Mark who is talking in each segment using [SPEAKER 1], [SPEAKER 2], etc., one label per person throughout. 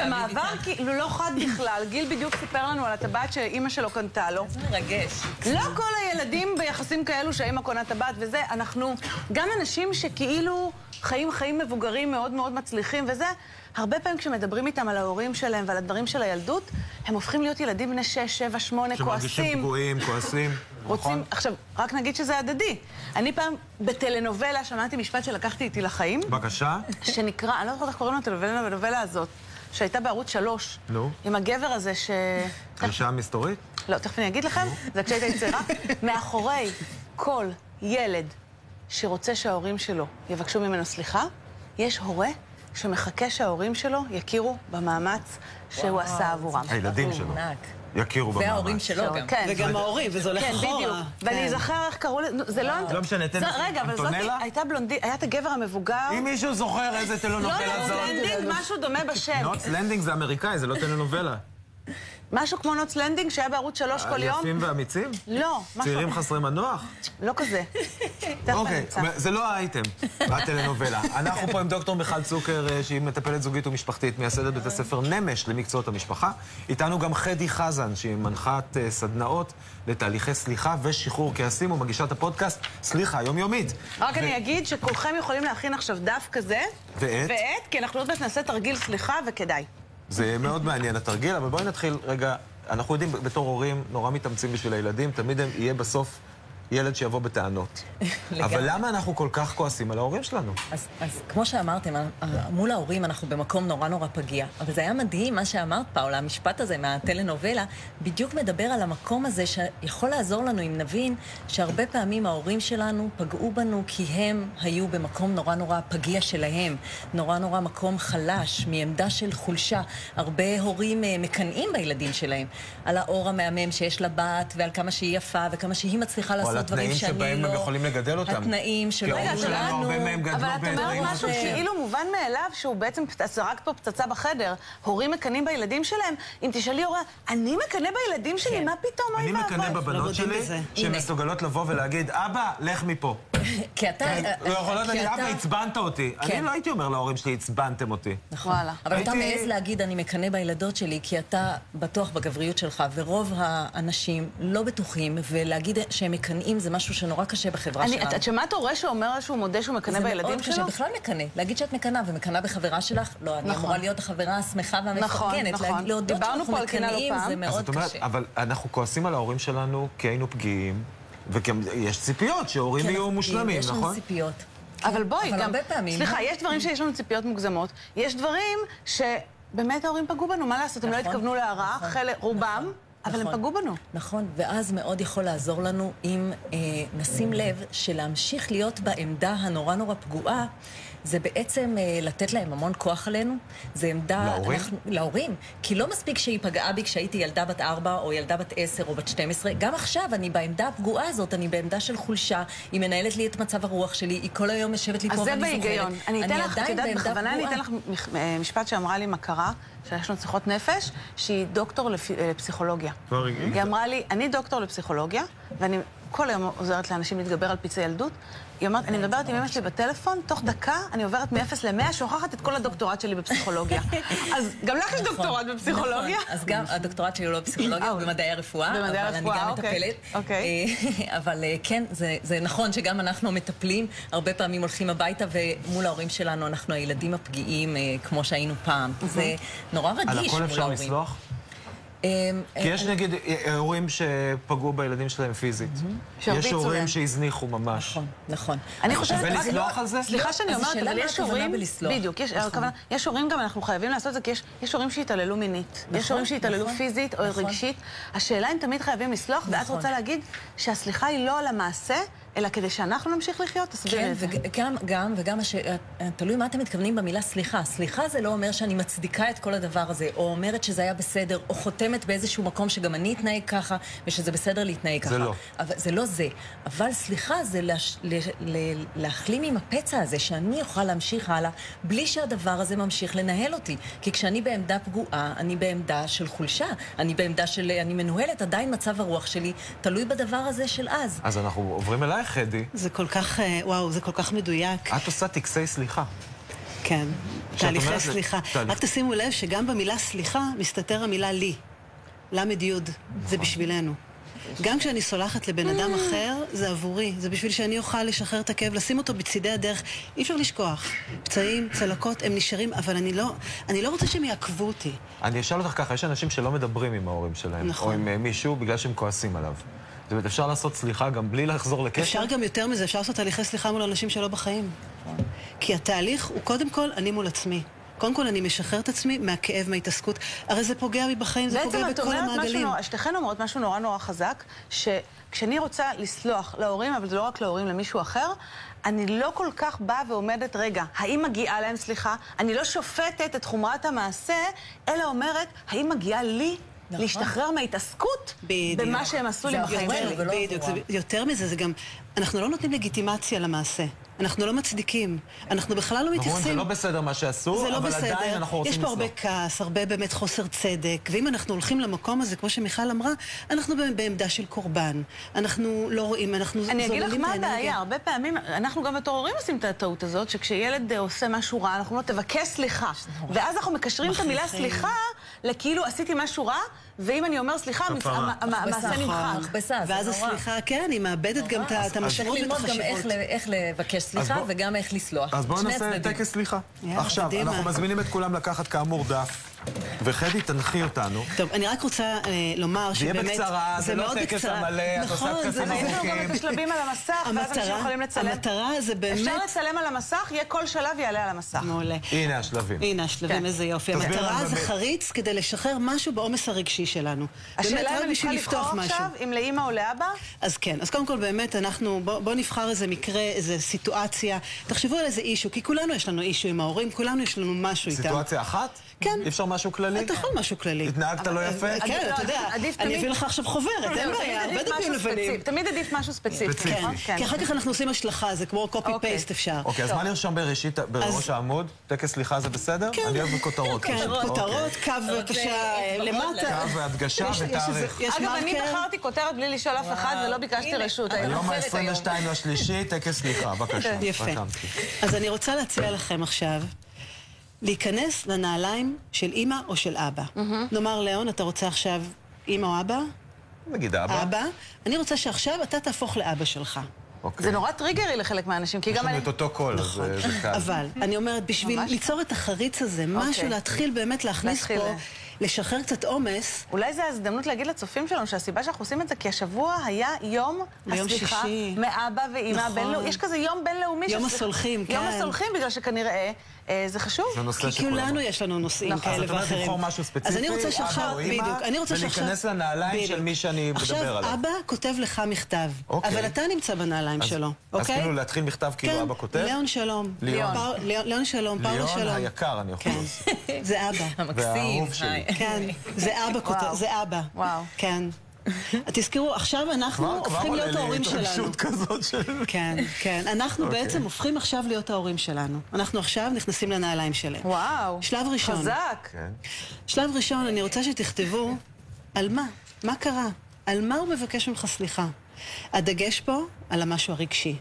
[SPEAKER 1] במעבר כאילו לא חד בכלל, גיל בדיוק סיפר לנו על הטבעת שאימא שלו קנתה לו.
[SPEAKER 2] זה מרגש.
[SPEAKER 1] לא כל הילדים ביחסים כאלו שהאימא קונה טבעת וזה, אנחנו, גם אנשים שכאילו חיים חיים מבוגרים מאוד מאוד מצליחים וזה, הרבה פעמים כשמדברים איתם על ההורים שלהם ועל הדברים של הילדות, הם הופכים להיות ילדים בני 6, 7, 8,
[SPEAKER 3] שמרגישים נכון.
[SPEAKER 1] כועסים.
[SPEAKER 3] פגועים, כועסים.
[SPEAKER 1] רוצים, עכשיו, רק נגיד שזה הדדי. אני פעם בטלנובלה שמעתי משפט שלקחתי איתי לחיים.
[SPEAKER 3] בבקשה.
[SPEAKER 1] שנקרא, אני לא זוכרת איך קוראים לטלוויזיה בנובלה הזאת, שהייתה בערוץ שלוש.
[SPEAKER 3] נו.
[SPEAKER 1] עם הגבר הזה ש...
[SPEAKER 3] האישה המסתורית?
[SPEAKER 1] לא, תכף אני אגיד לכם, זה כשהייתה צעירה. מאחורי כל ילד שרוצה שההורים שלו יבקשו ממנו סליחה, יש הורה שמחכה שההורים שלו יכירו במאמץ שהוא עשה עבורם.
[SPEAKER 3] הילדים שלו.
[SPEAKER 1] נכון.
[SPEAKER 2] ענק.
[SPEAKER 3] יכירו במאמץ.
[SPEAKER 2] וההורים שלו גם.
[SPEAKER 1] כן.
[SPEAKER 4] לא, וגם ההורים, וזה הולך
[SPEAKER 1] כן, בדיוק.
[SPEAKER 4] אחורה.
[SPEAKER 1] ואני אזכר איך קראו לזה, נו, זה לא... אנט-
[SPEAKER 3] לא משנה, תן
[SPEAKER 1] זה-
[SPEAKER 3] לך.
[SPEAKER 1] רגע, אבל זאת
[SPEAKER 3] אנטונלה?
[SPEAKER 1] הייתה בלונדין, היה את הגבר המבוגר.
[SPEAKER 3] אם מישהו זוכר איזה
[SPEAKER 1] לא
[SPEAKER 3] טלנובלה זאת...
[SPEAKER 1] לנדינג, משהו דומה בשם.
[SPEAKER 3] נוטס לנדינג זה אמריקאי, זה לא טלנובלה.
[SPEAKER 1] משהו כמו נוץ לנדינג שהיה בערוץ שלוש כל יום.
[SPEAKER 3] אה, יפים ואמיצים?
[SPEAKER 1] לא, משהו...
[SPEAKER 3] צעירים חסרי מנוח?
[SPEAKER 1] לא כזה. תכף אני
[SPEAKER 3] אוקיי,
[SPEAKER 1] אמצא.
[SPEAKER 3] זה לא האייטם, הטלנובלה. אנחנו פה עם דוקטור מיכל צוקר, אה, שהיא מטפלת זוגית ומשפחתית, מייסדת בית הספר נמש למקצועות המשפחה. איתנו גם חדי חזן, שהיא מנחת אה, סדנאות לתהליכי סליחה ושחרור כעסים, ומגישת הפודקאסט סליחה יומיומית.
[SPEAKER 1] רק
[SPEAKER 3] ו-
[SPEAKER 1] אני אגיד שכולכם יכולים להכין עכשיו דף כזה.
[SPEAKER 3] ועט?
[SPEAKER 1] ועט, כי אנחנו עוד מעט נעשה תרגיל סליחה וכדאי.
[SPEAKER 3] זה מאוד מעניין התרגיל, אבל בואי נתחיל רגע. אנחנו יודעים, בתור הורים, נורא מתאמצים בשביל הילדים, תמיד הם- יהיה בסוף ילד שיבוא בטענות.
[SPEAKER 2] לגמרי.
[SPEAKER 3] אבל למה אנחנו כל כך כועסים על ההורים שלנו?
[SPEAKER 2] אז, אז כמו שאמרתם, ה- ה- מול ההורים אנחנו במקום נורא נורא פגיע. אבל זה היה מדהים מה שאמרת, פאולה, המשפט הזה מהטלנובלה, בדיוק מדבר על המקום הזה שיכול לעזור לנו אם נבין שהרבה פעמים ההורים שלנו פגעו בנו כי הם היו במקום נורא נורא פגיע שלהם, נורא נורא מקום חלש, מעמדה של חולשה. הרבה הורים אה, מקנאים בילדים שלהם על האור המהמם שיש לבת ועל כמה שהיא יפה וכמה שהיא מצליחה
[SPEAKER 3] או על
[SPEAKER 2] לעשות דברים
[SPEAKER 3] התנאים
[SPEAKER 2] שאני לא...
[SPEAKER 3] שבהם הם יכולים לגדל אותם.
[SPEAKER 2] התנאים שלא
[SPEAKER 3] כי ההורים
[SPEAKER 1] רגע,
[SPEAKER 3] שלנו,
[SPEAKER 1] אבל-
[SPEAKER 3] הרבה מהם גדלו
[SPEAKER 1] אבל את אומרת
[SPEAKER 3] בתנאים
[SPEAKER 1] משהו
[SPEAKER 2] אחרים.
[SPEAKER 1] שכאילו מובן מאליו, שהוא בעצם פצ- זרק פה פצצה בחדר. הורים מקנאים בילדים שלהם. אם תשאלי הורה, אני מקנא בילדים שלי?
[SPEAKER 2] כן.
[SPEAKER 1] מה פתאום? אוי
[SPEAKER 3] אני מקנא
[SPEAKER 1] ואבוי."
[SPEAKER 4] לא
[SPEAKER 3] בבנות
[SPEAKER 4] מודים
[SPEAKER 3] שלי,
[SPEAKER 4] בזה.
[SPEAKER 3] שהן
[SPEAKER 2] הנה.
[SPEAKER 3] מסוגלות לבוא ולהגיד, אבא, לך מפה.
[SPEAKER 2] כי אתה... אה,
[SPEAKER 3] הן לא יכולות
[SPEAKER 2] כי
[SPEAKER 3] להגיד,
[SPEAKER 2] אתה-
[SPEAKER 3] אבא, עצבנת אותי. אני
[SPEAKER 2] כן.
[SPEAKER 3] לא הייתי אומר להורים שלי, עצבנתם אותי.
[SPEAKER 2] נכון.
[SPEAKER 1] וואלה.
[SPEAKER 2] אבל אתה
[SPEAKER 3] הייתי-
[SPEAKER 2] מעז להגיד, אני מקנא בילדות שלי, כי אתה בטוח בגבריות שלך, ורוב האנשים לא בטוחים, ולהגיד שהם מקנאים זה משהו שנורא קשה בחברה
[SPEAKER 1] אני-
[SPEAKER 2] שלנו.
[SPEAKER 1] את- את שמעת הורה שאומר שהוא מודה שהוא מקנא בילדים
[SPEAKER 2] זה
[SPEAKER 1] שלו?
[SPEAKER 2] מאוד קשה, בכלל מקנא. להגיד שאת מקנאה ומקנאה בחברה שלך, לא, אני
[SPEAKER 1] נכון.
[SPEAKER 2] אמורה להיות החברה השמחה
[SPEAKER 1] נכון,
[SPEAKER 2] והמפרגנת.
[SPEAKER 1] נכון.
[SPEAKER 2] להגיד- להודות
[SPEAKER 1] דיברנו
[SPEAKER 2] שאנחנו
[SPEAKER 1] פה על קנאה לא
[SPEAKER 2] מקנאים
[SPEAKER 1] פעם.
[SPEAKER 2] זה
[SPEAKER 1] אז
[SPEAKER 3] אז
[SPEAKER 2] מאוד
[SPEAKER 3] את אומרת,
[SPEAKER 2] קשה.
[SPEAKER 3] אבל אנחנו כועסים על ההורים שלנו כי היינו פגיעים, וגם יש ציפיות שהורים
[SPEAKER 2] כי אנחנו-
[SPEAKER 3] יהיו מושלמים,
[SPEAKER 2] כן, יש לנו
[SPEAKER 3] נכון?
[SPEAKER 2] ציפיות. כן,
[SPEAKER 1] אבל בואי,
[SPEAKER 2] אבל
[SPEAKER 1] גם...
[SPEAKER 2] הרבה פעמים- אה?
[SPEAKER 1] סליחה, יש דברים שיש לנו ציפיות מוגזמות, יש דברים שבאמת ההורים פגעו בנו, מה לעשות, הם לא
[SPEAKER 2] נכון,
[SPEAKER 1] התכוונו להרע,
[SPEAKER 2] נכון,
[SPEAKER 1] חלק- רובם, אבל הם
[SPEAKER 2] נכון.
[SPEAKER 1] פגעו בנו.
[SPEAKER 2] נכון, ואז מאוד יכול לעזור לנו אם אה, נשים לב שלהמשיך להיות בעמדה הנורא נורא פגועה, זה בעצם אה, לתת להם המון כוח עלינו. זה עמדה...
[SPEAKER 3] להורים?
[SPEAKER 2] אנחנו, להורים. כי לא מספיק שהיא פגעה בי כשהייתי ילדה בת ארבע, או ילדה בת עשר, או בת 12, גם עכשיו אני בעמדה הפגועה הזאת, אני בעמדה של חולשה, היא מנהלת לי את מצב הרוח שלי, היא כל היום יושבת לי פה
[SPEAKER 1] אז
[SPEAKER 2] ואני
[SPEAKER 1] זה
[SPEAKER 2] זוכרת.
[SPEAKER 1] בהיגיון. אני אתן לך, את
[SPEAKER 2] עדיין
[SPEAKER 1] יודעת,
[SPEAKER 2] בעמדה
[SPEAKER 1] בכוונה אני
[SPEAKER 2] פגועה.
[SPEAKER 1] אתן לך מח- אה, משפט שאמרה לי מכרה, שיש לנו שיחות נפש, שהיא דוקטור לפ- אה, לפסיכולוגיה.
[SPEAKER 3] כבר הגיע.
[SPEAKER 1] היא אמרה לי, אני דוקטור לפסיכולוגיה, ואני כל היום עוזרת לאנשים להתגבר על פצעי ילדות. היא אומרת, אני מדברת עם אמא שלי בטלפון, תוך דקה אני עוברת מ-0 ל-100, שוכחת את כל הדוקטורט שלי בפסיכולוגיה. אז גם לך יש דוקטורט
[SPEAKER 2] נכון,
[SPEAKER 1] בפסיכולוגיה?
[SPEAKER 2] נכון, אז גם הדוקטורט שלי הוא לא בפסיכולוגיה,
[SPEAKER 1] אה,
[SPEAKER 2] הוא במדעי הרפואה,
[SPEAKER 1] במדעי
[SPEAKER 2] אבל אני
[SPEAKER 1] הרפואה,
[SPEAKER 2] גם
[SPEAKER 1] אוקיי,
[SPEAKER 2] מטפלת.
[SPEAKER 1] אוקיי.
[SPEAKER 2] אה, אבל אה, כן, זה- זה נכון שגם אנחנו המטפלים, הרבה פעמים הולכים הביתה, ומול ההורים שלנו אנחנו הילדים הפגיעים, אה, כמו שהיינו פעם. זה נורא רגיש מול
[SPEAKER 3] על
[SPEAKER 2] ההורים.
[SPEAKER 3] הכל אפשר לסלוח?
[SPEAKER 2] אה,
[SPEAKER 3] כי
[SPEAKER 2] אה,
[SPEAKER 3] יש נגיד אה, הורים שפגעו בילדים שלהם פיזית. יש
[SPEAKER 1] שהרביצו להם.
[SPEAKER 3] הורים שהזניחו ממש.
[SPEAKER 2] נכון, נכון.
[SPEAKER 1] אני חושבת...
[SPEAKER 3] שווה
[SPEAKER 1] רק לא-
[SPEAKER 3] לסלוח על זה?
[SPEAKER 1] סליחה שאני
[SPEAKER 2] אז
[SPEAKER 1] אומרת,
[SPEAKER 2] השאלה
[SPEAKER 1] אבל
[SPEAKER 2] מה
[SPEAKER 1] יש
[SPEAKER 2] הכוונה
[SPEAKER 1] הורים...
[SPEAKER 2] בלסלוח.
[SPEAKER 1] בדיוק, יש
[SPEAKER 2] נכון.
[SPEAKER 1] הכוונה- יש הורים גם, אנחנו חייבים לעשות את זה, כי יש- יש הורים שהתעללו מינית. יש
[SPEAKER 2] נכון,
[SPEAKER 1] הורים שהתעללו
[SPEAKER 2] נכון,
[SPEAKER 1] פיזית או
[SPEAKER 2] נכון.
[SPEAKER 1] רגשית. השאלה אם תמיד חייבים לסלוח, ואת
[SPEAKER 2] נכון.
[SPEAKER 1] רוצה להגיד שהסליחה היא לא על המעשה, אלא כדי שאנחנו נמשיך לחיות, תסבירי
[SPEAKER 2] כן,
[SPEAKER 1] את זה.
[SPEAKER 2] וגם, גם, וגם, הש... אה, תלוי מה אתם מתכוונים במילה סליחה. סליחה זה לא אומר שאני מצדיקה את כל הדבר הזה, או אומרת שזה היה בסדר, או חותמת באיזשהו מקום שגם אני אתנהג ככה, ושזה בסדר להתנהג
[SPEAKER 3] זה
[SPEAKER 2] ככה.
[SPEAKER 3] לא.
[SPEAKER 2] אבל, זה לא זה. אבל סליחה זה לש... ל... ל... להחלים עם הפצע הזה, שאני אוכל להמשיך הלאה, בלי שהדבר הזה ממשיך לנהל אותי. כי כשאני בעמדה פגועה, אני בעמדה של חולשה, אני בעמדה של... אני מנוהלת, עדיין מצב הרוח שלי תלוי בדבר הזה של אז.
[SPEAKER 3] אז אנחנו עוברים אלייך, חדי.
[SPEAKER 4] זה כל כך, אה, וואו, זה כל כך מדויק.
[SPEAKER 3] את עושה טקסי סליחה.
[SPEAKER 4] כן,
[SPEAKER 3] שאת
[SPEAKER 4] תהליכי
[SPEAKER 3] אומרת ל-
[SPEAKER 4] סליחה.
[SPEAKER 3] תהליך-
[SPEAKER 4] רק תשימו לב שגם במילה סליחה מסתתר המילה לי. למד יוד,
[SPEAKER 3] נכון.
[SPEAKER 4] זה בשבילנו. גם כשאני סולחת לבן אדם
[SPEAKER 3] אה.
[SPEAKER 4] אחר, זה עבורי. זה בשביל שאני אוכל לשחרר את הכאב, לשים אותו בצידי הדרך. אי אפשר לשכוח. פצעים, צלקות, הם נשארים, אבל אני לא, אני לא רוצה שהם יעכבו אותי.
[SPEAKER 3] אני אשאל אותך ככה, יש אנשים שלא מדברים עם ההורים שלהם,
[SPEAKER 4] נכון.
[SPEAKER 3] או עם אה, מישהו בגלל שהם כועסים עליו. זאת אומרת, אפשר לעשות סליחה גם בלי לחזור לקשר?
[SPEAKER 4] אפשר גם יותר מזה, אפשר לעשות תהליכי סליחה מול אנשים שלא בחיים. כי התהליך הוא קודם כל אני מול עצמי. קודם כל אני משחרר את עצמי מהכאב, מההתעסקות. הרי זה פוגע בי בחיים, זה
[SPEAKER 1] בעצם
[SPEAKER 4] פוגע
[SPEAKER 1] את
[SPEAKER 4] בכל
[SPEAKER 1] אומרת משהו
[SPEAKER 4] המעגלים.
[SPEAKER 1] נורא, שתיכן אומרות משהו נורא נורא חזק, שכשאני רוצה לסלוח להורים, אבל זה לא רק להורים, למישהו אחר, אני לא כל כך באה ועומדת, רגע, האם מגיעה להם סליחה? אני לא שופטת את חומרת המעשה, אלא אומרת, האם מגיעה לי
[SPEAKER 2] נכון.
[SPEAKER 1] להשתחרר מההתעסקות
[SPEAKER 4] בדיוק.
[SPEAKER 1] במה שהם עשו לי
[SPEAKER 2] זה
[SPEAKER 1] בחיים
[SPEAKER 2] אחרי,
[SPEAKER 1] שלי?
[SPEAKER 2] ולא
[SPEAKER 4] בדיוק, זה
[SPEAKER 2] עבורם.
[SPEAKER 4] יותר מזה, זה גם... אנחנו לא נותנים לגיטימציה למעשה. אנחנו לא מצדיקים. אנחנו בכלל לא
[SPEAKER 3] נכון, זה
[SPEAKER 4] מתייחסים...
[SPEAKER 3] לא בסדר מה שעשו,
[SPEAKER 4] זה לא
[SPEAKER 3] אבל
[SPEAKER 4] בסדר.
[SPEAKER 3] עדיין אנחנו רוצים
[SPEAKER 4] יש פה
[SPEAKER 3] לסלוח.
[SPEAKER 4] הרבה כעס, הרבה באמת חוסר צדק, ואם אנחנו הולכים למקום הזה, כמו שמיכל אמרה, אנחנו באמת בעמדה של קורבן. אנחנו לא רואים, אנחנו זוללים
[SPEAKER 1] אני
[SPEAKER 4] את
[SPEAKER 1] אגיד
[SPEAKER 4] האנרגיה.
[SPEAKER 1] לך מה הבעיה, הרבה פעמים, אנחנו גם בתור הורים עושים את הטעות הזאת, שכשילד אה, עושה משהו רע, אנחנו אומרים לו, תבקש סליחה. ואז אנחנו מקשרים את המילה
[SPEAKER 4] מכריחים.
[SPEAKER 1] סליחה לכאילו עשיתי משהו רע, ואם אני אומר סליחה, המס-
[SPEAKER 3] כפרה.
[SPEAKER 1] המ- המ- המעשה
[SPEAKER 4] נכון.
[SPEAKER 2] מכבסה,
[SPEAKER 1] נמחק.
[SPEAKER 2] מכבסה, זה
[SPEAKER 4] ואז
[SPEAKER 2] נורא.
[SPEAKER 4] הסליחה, כן, היא מאבדת גם את ה- את
[SPEAKER 2] צריך
[SPEAKER 4] המשמעות ואת
[SPEAKER 2] ללמוד גם איך
[SPEAKER 4] החשיבות.
[SPEAKER 2] ל- איך לבקש סליחה
[SPEAKER 3] בוא-
[SPEAKER 2] וגם איך לסלוח.
[SPEAKER 3] אז בואו
[SPEAKER 2] שני
[SPEAKER 3] נעשה
[SPEAKER 2] הצדדים.
[SPEAKER 3] טקס סליחה.
[SPEAKER 4] יאללה,
[SPEAKER 3] עכשיו,
[SPEAKER 4] קדימה.
[SPEAKER 3] אנחנו מזמינים את כולם לקחת כאמור דף, וחדי, תנחי אותנו.
[SPEAKER 4] טוב, אני רק רוצה אה, לומר
[SPEAKER 3] זה יהיה
[SPEAKER 4] שבאמת...
[SPEAKER 3] בקצרה, זה לא
[SPEAKER 4] מאוד
[SPEAKER 3] טקס
[SPEAKER 4] בקצרה.
[SPEAKER 3] המלא, את עושה
[SPEAKER 4] נכון, זה
[SPEAKER 3] טקסים
[SPEAKER 4] לא-
[SPEAKER 1] ראינו גם את השלבים על המסך, ואז אנשים יכולים לצלם.
[SPEAKER 4] המטרה זה באמת...
[SPEAKER 1] אפשר לצלם על המסך, יהיה כל שלב יעלה על המסך.
[SPEAKER 4] מעולה.
[SPEAKER 3] הנה השלבים.
[SPEAKER 4] הנה השלבים,
[SPEAKER 1] כן.
[SPEAKER 4] איזה יופי.
[SPEAKER 3] תסביר
[SPEAKER 4] המטרה
[SPEAKER 3] לנו
[SPEAKER 4] זה
[SPEAKER 3] באמת.
[SPEAKER 4] חריץ כדי לשחרר משהו בעומס הרגשי שלנו. באמת,
[SPEAKER 1] השאלה אם
[SPEAKER 4] רק
[SPEAKER 1] אני צריכה
[SPEAKER 4] בשביל לפתוח
[SPEAKER 1] לבחור
[SPEAKER 4] משהו.
[SPEAKER 1] עכשיו, אם לאימא או לאבא?
[SPEAKER 4] אז כן, אז קודם כל באמת אנחנו, בואו בוא נבחר איזה מקרה, איזה סיטואציה. תחשבו על איזה אישו, כי כולנו יש לנו אישו עם ההורים, כולנו יש לנו משהו איתם.
[SPEAKER 3] סיטואציה אחת?
[SPEAKER 4] כן.
[SPEAKER 3] אי אפשר משהו כללי?
[SPEAKER 4] אתה יכול משהו כללי.
[SPEAKER 3] התנהגת לא יפה?
[SPEAKER 4] אה,
[SPEAKER 1] עדיף-
[SPEAKER 4] כן, אתה יודע,
[SPEAKER 1] עדיף
[SPEAKER 4] אני
[SPEAKER 1] תמיד-
[SPEAKER 4] אביא לך עכשיו חוברת, אין
[SPEAKER 1] זהו,
[SPEAKER 4] בעיה,
[SPEAKER 1] תמיד
[SPEAKER 4] הרבה
[SPEAKER 1] עדיף
[SPEAKER 4] דפים
[SPEAKER 1] משהו
[SPEAKER 4] לבנים.
[SPEAKER 1] ספציפי, תמיד עדיף משהו ספציפי,
[SPEAKER 3] ספציפי.
[SPEAKER 1] נכון?
[SPEAKER 4] כן, כי אחר כך אנחנו עושים השלכה, זה כמו
[SPEAKER 1] אוקיי.
[SPEAKER 4] copy-paste אפשר.
[SPEAKER 3] אוקיי, אז מה נרשום בראשית, בראש
[SPEAKER 4] אז-
[SPEAKER 3] העמוד? טקס סליחה זה בסדר? אני אוהב כותרות.
[SPEAKER 4] כן,
[SPEAKER 3] פשוט.
[SPEAKER 4] כותרות,
[SPEAKER 3] אוקיי.
[SPEAKER 4] קו בבקשה
[SPEAKER 2] אצבעות
[SPEAKER 4] למטה.
[SPEAKER 3] קו והדגשה
[SPEAKER 4] יש- יש איזה-
[SPEAKER 3] ותאריך.
[SPEAKER 4] יש כן.
[SPEAKER 1] אגב, אני
[SPEAKER 4] מרקר.
[SPEAKER 1] בחרתי כותרת בלי לשאול אף אחד ולא ביקשתי
[SPEAKER 2] הנה,
[SPEAKER 1] רשות.
[SPEAKER 2] אבל-
[SPEAKER 1] היום.
[SPEAKER 3] היום
[SPEAKER 2] אחרת
[SPEAKER 3] ה-22 לשלישי, טקס סליחה, בבקשה.
[SPEAKER 4] יפה.
[SPEAKER 3] רשמתי.
[SPEAKER 4] אז אני רוצה להציע לכם עכשיו להיכנס לנעליים של אימא או של אבא. נאמר, ליאון, אתה רוצה עכשיו אימא או אבא?
[SPEAKER 3] נגיד אבא.
[SPEAKER 4] אבא. אני רוצה שעכשיו אתה תהפוך לאבא שלך.
[SPEAKER 3] אוקיי.
[SPEAKER 1] זה נורא טריגרי לחלק מהאנשים, כי
[SPEAKER 3] יש
[SPEAKER 1] גם
[SPEAKER 3] לנו
[SPEAKER 1] אני...
[SPEAKER 3] את אותו קול, אז אה, זה קל.
[SPEAKER 4] נכון. אבל, אני אומרת, בשביל
[SPEAKER 1] ממש.
[SPEAKER 4] ליצור את החריץ הזה, משהו
[SPEAKER 1] אוקיי.
[SPEAKER 4] להתחיל באמת להכניס
[SPEAKER 1] להתחיל,
[SPEAKER 4] פה,
[SPEAKER 1] אה.
[SPEAKER 4] לשחרר קצת עומס.
[SPEAKER 1] אולי זו ההזדמנות להגיד לצופים שלנו שהסיבה שאנחנו עושים את זה, כי השבוע היה יום
[SPEAKER 4] ביום
[SPEAKER 1] הסליחה
[SPEAKER 4] שישי.
[SPEAKER 1] מאבא ואימא
[SPEAKER 4] נכון.
[SPEAKER 1] הבינלאומי. יש כזה יום בינלאומי.
[SPEAKER 4] יום
[SPEAKER 1] של סליחה.
[SPEAKER 4] הסולחים,
[SPEAKER 1] יום
[SPEAKER 4] כן.
[SPEAKER 1] הסולחים, בגלל שכנראה אה, זה חשוב.
[SPEAKER 3] זה נושא
[SPEAKER 4] כי
[SPEAKER 3] שכולם...
[SPEAKER 4] כולנו יש לנו נושאים
[SPEAKER 1] נכון.
[SPEAKER 4] כאלה
[SPEAKER 3] אז
[SPEAKER 4] ואחרים.
[SPEAKER 3] את אומרת לבחור משהו ספציפי,
[SPEAKER 4] אז אני רוצה
[SPEAKER 3] אבא
[SPEAKER 4] שעכשיו,
[SPEAKER 3] או אמא,
[SPEAKER 4] בדיוק, אני רוצה שעכשיו...
[SPEAKER 3] ולהיכנס לנעליים
[SPEAKER 4] בדיוק.
[SPEAKER 3] של מי שאני מדבר עליו.
[SPEAKER 4] עכשיו, אבא כותב לך מכתב,
[SPEAKER 3] אוקיי.
[SPEAKER 4] אבל אתה נמצא בנעליים
[SPEAKER 3] אז-
[SPEAKER 4] שלו,
[SPEAKER 3] אז
[SPEAKER 4] אוקיי?
[SPEAKER 3] כאילו להתחיל מכתב כאילו
[SPEAKER 4] כן,
[SPEAKER 3] אבא כותב?
[SPEAKER 4] ליאון שלום.
[SPEAKER 3] ליאון.
[SPEAKER 4] פאו- ליאון ליאון שלום, פאולה
[SPEAKER 3] ליאון
[SPEAKER 4] שלום.
[SPEAKER 3] היקר, אני יכול
[SPEAKER 4] כן.
[SPEAKER 3] לעשות.
[SPEAKER 4] זה אבא.
[SPEAKER 2] המקסים.
[SPEAKER 3] והאהוב שלי.
[SPEAKER 2] היי.
[SPEAKER 4] כן, זה אבא כותב,
[SPEAKER 1] וואו.
[SPEAKER 4] זה אבא.
[SPEAKER 1] וואו.
[SPEAKER 4] כן. תזכרו, עכשיו אנחנו
[SPEAKER 3] כבר- כבר
[SPEAKER 4] הופכים
[SPEAKER 3] עולה
[SPEAKER 4] להיות
[SPEAKER 3] לי
[SPEAKER 4] ההורים שלנו.
[SPEAKER 3] התרגשות כזאת של...
[SPEAKER 4] כן, כן. אנחנו
[SPEAKER 3] אוקיי.
[SPEAKER 4] בעצם הופכים עכשיו להיות ההורים שלנו. אנחנו עכשיו נכנסים לנעליים שלהם.
[SPEAKER 1] וואו.
[SPEAKER 4] שלב ראשון.
[SPEAKER 1] חזק.
[SPEAKER 3] כן.
[SPEAKER 4] שלב ראשון, אני רוצה שתכתבו על מה, מה קרה, על מה הוא מבקש ממך סליחה. הדגש פה על המשהו הרגשי.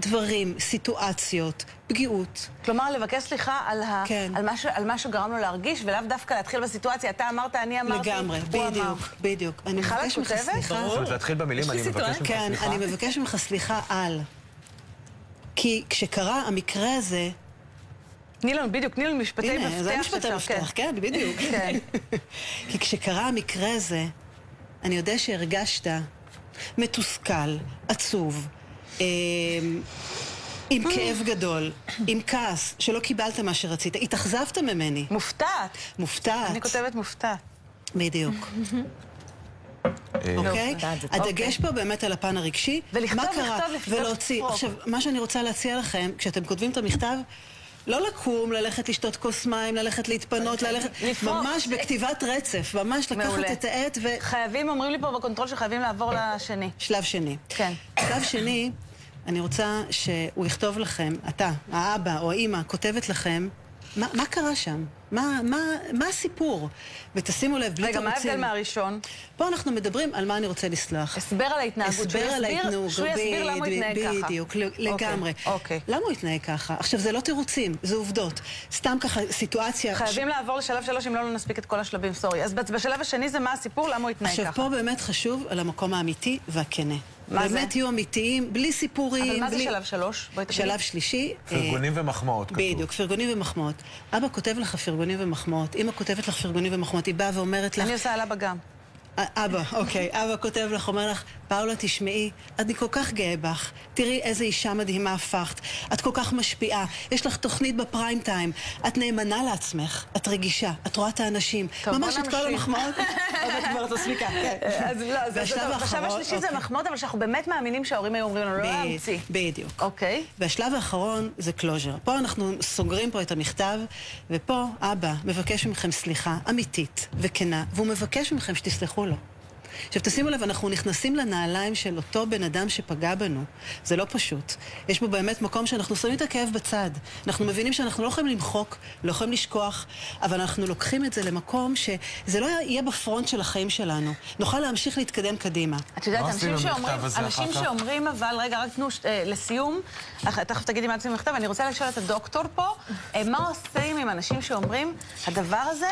[SPEAKER 4] דברים, סיטואציות, פגיעות.
[SPEAKER 1] כלומר, לבקש סליחה על, ה...
[SPEAKER 4] כן.
[SPEAKER 1] על, מה ש... על מה שגרם לו להרגיש, ולאו דווקא להתחיל בסיטואציה, אתה אמרת, אני אמרתי,
[SPEAKER 4] לגמרי,
[SPEAKER 1] הוא אמר.
[SPEAKER 4] בדיוק, בדיוק. אני
[SPEAKER 1] מיכל, את
[SPEAKER 4] מבקש ממך
[SPEAKER 1] כותבת?
[SPEAKER 4] סליחה.
[SPEAKER 3] זאת אומרת, להתחיל
[SPEAKER 2] יש
[SPEAKER 3] במילים,
[SPEAKER 2] לי
[SPEAKER 3] אני מבקש ממך
[SPEAKER 2] סיטואציה.
[SPEAKER 4] כן,
[SPEAKER 3] סליחה.
[SPEAKER 4] אני מבקש ממך סליחה על. כי כשקרה המקרה הזה,
[SPEAKER 1] תני לנו, בדיוק, תני לנו משפטי אוקיי, מפתח.
[SPEAKER 4] הנה, זה משפט
[SPEAKER 1] שאפשר-
[SPEAKER 4] המפתח, כן, בדיוק.
[SPEAKER 1] כן.
[SPEAKER 4] כי כשקרה המקרה הזה, אני יודע שהרגשת מתוסכל, עצוב, אה, עם
[SPEAKER 1] אה.
[SPEAKER 4] כאב גדול, עם כעס, שלא קיבלת מה שרצית, התאכזבת ממני,
[SPEAKER 1] כן. מופתעת.
[SPEAKER 4] מופתעת.
[SPEAKER 1] אני כותבת מופתעת.
[SPEAKER 4] בדיוק,
[SPEAKER 3] אה,
[SPEAKER 4] אוקיי?
[SPEAKER 2] מופתעת, זה טוב.
[SPEAKER 4] הדגש פה באמת על הפן הרגשי.
[SPEAKER 1] ולכתוב,
[SPEAKER 4] מה קרה?
[SPEAKER 1] לכתוב, לכתוב,
[SPEAKER 4] ולהוציא.
[SPEAKER 1] לכתוב.
[SPEAKER 4] עכשיו, מה שאני רוצה להציע לכם, כשאתם כותבים את המכתב, לא לקום, ללכת לשתות כוס מים, ללכת להתפנות, ללכת...
[SPEAKER 1] לפרוס.
[SPEAKER 4] ממש בכתיבת רצף, ממש לקחת
[SPEAKER 1] מעולה.
[SPEAKER 4] את העט ו...
[SPEAKER 1] חייבים, אומרים לי פה בקונטרול שחייבים לעבור
[SPEAKER 4] אה.
[SPEAKER 1] לשני.
[SPEAKER 4] שלב שני.
[SPEAKER 1] כן.
[SPEAKER 4] שלב שני, אני רוצה שהוא יכתוב לכם, אתה, האבא או האימא, כותבת לכם מה, מה קרה שם? מה, מה, מה הסיפור? ותשימו לב, בלי
[SPEAKER 1] רגע, מה ההבדל
[SPEAKER 4] תירוצים.
[SPEAKER 1] מהראשון?
[SPEAKER 4] פה אנחנו מדברים על מה אני רוצה לסלוח.
[SPEAKER 1] הסבר על ההתנהגות. שהוא
[SPEAKER 4] הסבר על
[SPEAKER 1] יסביר-
[SPEAKER 4] ההתנהגות,
[SPEAKER 1] שהוא יסביר למה הוא
[SPEAKER 4] בדיוק,
[SPEAKER 1] התנהג ככה.
[SPEAKER 4] בדיוק, ל- לגמרי. לא,
[SPEAKER 1] אוקיי.
[SPEAKER 4] למה הוא התנהג ככה? עכשיו, זה לא תירוצים, זה עובדות. סתם ככה סיטואציה...
[SPEAKER 1] חייבים לעבור לשלב שלוש, אם לא, לא נספיק את כל השלבים, סורי. אז בשלב השני זה מה הסיפור, למה הוא התנהג
[SPEAKER 4] עכשיו,
[SPEAKER 1] ככה.
[SPEAKER 4] פה באמת חשוב על המקום האמיתי והכנה.
[SPEAKER 1] מה זה?
[SPEAKER 4] באמת תהיו אמיתיים, בלי סיפורים.
[SPEAKER 1] אבל מה זה
[SPEAKER 4] בלי...
[SPEAKER 1] שלב שלוש? בואי תגידי.
[SPEAKER 4] שלב שלישי. אה,
[SPEAKER 3] פרגונים ומחמאות כתוב.
[SPEAKER 4] בדיוק, פרגונים ומחמאות. אבא כותב לך פרגונים ומחמאות, אמא כותבת לך פרגונים ומחמאות, היא באה ואומרת לך...
[SPEAKER 1] אני עושה על אבא גם.
[SPEAKER 4] א- אבא, אוקיי, אבא כותב לך, אומר לך, פאולה, תשמעי, אני כל כך גאה בך, תראי איזה אישה מדהימה הפכת, את כל כך משפיעה, יש לך תוכנית בפריים טיים, את נאמנה לעצמך, את רגישה, את רואה את האנשים,
[SPEAKER 1] טוב, בוא
[SPEAKER 4] ממש את כל
[SPEAKER 1] נמשיך.
[SPEAKER 4] המחמאות, אבל כבר את מסמיקה, כן.
[SPEAKER 1] אז לא, זה- זה
[SPEAKER 4] והשלב
[SPEAKER 1] טוב. בשלב
[SPEAKER 4] האחרון,
[SPEAKER 1] השלישי זה
[SPEAKER 4] אוקיי.
[SPEAKER 1] מחמאות, אבל שאנחנו באמת מאמינים שההורים היו אומרים לנו, לא
[SPEAKER 4] ב-
[SPEAKER 1] להמציא.
[SPEAKER 4] בדיוק.
[SPEAKER 1] אוקיי.
[SPEAKER 4] והשלב האחרון זה קלוז'ר. פה אנחנו סוגרים פה את המכתב, ופה אבא מבקש מכם סליחה אמיתית וכנה, והוא מבקש מכם שתסלחו לו. עכשיו תשימו לב, אנחנו נכנסים לנעליים של אותו בן אדם שפגע בנו. זה לא פשוט. יש בו באמת מקום שאנחנו שמים את הכאב בצד. אנחנו מבינים שאנחנו לא יכולים למחוק, לא יכולים לשכוח, אבל אנחנו לוקחים את זה למקום שזה לא יהיה בפרונט של החיים שלנו. נוכל להמשיך להתקדם קדימה.
[SPEAKER 1] את יודעת,
[SPEAKER 3] מה עושים
[SPEAKER 1] אנשים
[SPEAKER 3] עם המכתב
[SPEAKER 1] שאומרים,
[SPEAKER 3] הזה
[SPEAKER 1] אנשים
[SPEAKER 3] אחר כך?
[SPEAKER 1] שאומרים, אבל רגע, רק תנו, ש- אה, לסיום, אח- תכף תגידי מה עושים עם המכתב, אני רוצה לשאול את הדוקטור פה, אה, מה עושים עם אנשים שאומרים, הדבר הזה...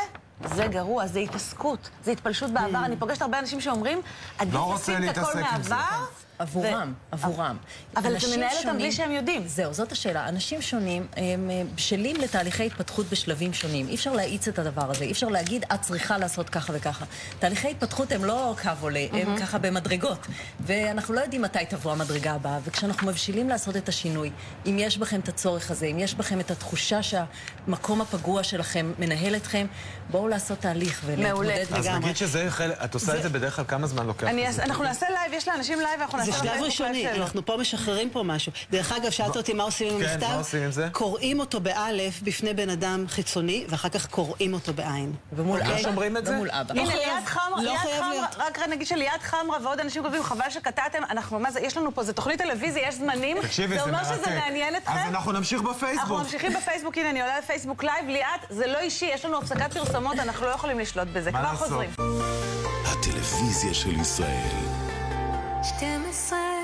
[SPEAKER 1] זה גרוע, זה התעסקות, זה התפלשות בעבר.
[SPEAKER 4] Mm.
[SPEAKER 1] אני פוגשת הרבה אנשים שאומרים, עדיף
[SPEAKER 3] לא רוצה
[SPEAKER 1] לשים את הכל
[SPEAKER 3] להתעסק עם זה.
[SPEAKER 1] מהעבר.
[SPEAKER 2] עבורם,
[SPEAKER 1] ו-
[SPEAKER 2] עבורם.
[SPEAKER 1] אבל אתה
[SPEAKER 2] אנשים
[SPEAKER 1] מנהל אותם
[SPEAKER 2] שונים-
[SPEAKER 1] בלי שהם יודעים.
[SPEAKER 2] זהו, זאת השאלה. אנשים שונים הם אה, בשלים לתהליכי התפתחות בשלבים שונים. אי אפשר להאיץ את הדבר הזה, אי אפשר להגיד, את צריכה לעשות ככה וככה. תהליכי התפתחות הם לא קו עולה,
[SPEAKER 1] Mm-hmm.
[SPEAKER 2] הם ככה במדרגות. ואנחנו לא יודעים מתי תבוא המדרגה הבאה. וכשאנחנו מבשילים לעשות את השינוי, אם יש בכם את הצורך הזה, אם יש בכם את התחושה שהמקום הפגוע שלכם מנהל אתכם, בואו לעשות תהליך
[SPEAKER 1] מעולה.
[SPEAKER 2] ולהתמודד
[SPEAKER 3] אז
[SPEAKER 4] לגמרי.
[SPEAKER 3] נגיד שזה חלק, את עושה את זה בדרך כלל כמה זמן לוקח?
[SPEAKER 1] אני
[SPEAKER 3] לזה?
[SPEAKER 1] אעשה- אנחנו נעשה לייב, יש לאנשים לייב, אנחנו נעשה
[SPEAKER 4] זה שלב
[SPEAKER 1] לפייסבוק לייב
[SPEAKER 4] ראשוני, לא-
[SPEAKER 1] שאלות.
[SPEAKER 4] אנחנו פה משחררים פה משהו. דרך אגב, שאלת אותי מה עושים עם
[SPEAKER 3] כן,
[SPEAKER 4] המכתב?
[SPEAKER 3] מה עושים עם זה?
[SPEAKER 4] קוראים אותו באלף בפני בן אדם חיצוני, ואחר כך קוראים אותו בעין. אוקיי?
[SPEAKER 2] ומול
[SPEAKER 3] לא
[SPEAKER 1] אוקיי.
[SPEAKER 2] אבא,
[SPEAKER 3] שומרים את זה?
[SPEAKER 2] ומול אבא.
[SPEAKER 4] לא
[SPEAKER 1] הנה,
[SPEAKER 4] חייב,
[SPEAKER 1] ליעד חמרה,
[SPEAKER 4] לא
[SPEAKER 1] ליעד
[SPEAKER 4] חייב
[SPEAKER 1] חמרה,
[SPEAKER 4] להיות.
[SPEAKER 1] רק נגיד שליעד חמרה ועוד אנשים כותבים, חבל שקטעתם, אנחנו, מה זה, יש לנו פה, זה תוכנית טלוויזיה, יש זמנים.
[SPEAKER 3] תקשיבי, זה מרתק.
[SPEAKER 1] זה אומר שזה מעניין אתכם?
[SPEAKER 3] אז אנחנו נמשיך
[SPEAKER 1] אנחנו
[SPEAKER 3] בפייסבוק.
[SPEAKER 1] ממשיכים בפייסבוק, הנה, אני עולה לפייסבוק לייב, ליעד, זה לא אישי, יש לנו הפסקת פרסומות, אנחנו לא יכולים לשלוט בזה.
[SPEAKER 3] מה
[SPEAKER 1] כבר
[SPEAKER 3] לעשות?
[SPEAKER 1] חוזרים.
[SPEAKER 5] הטלוויזיה של ישראל.
[SPEAKER 6] 12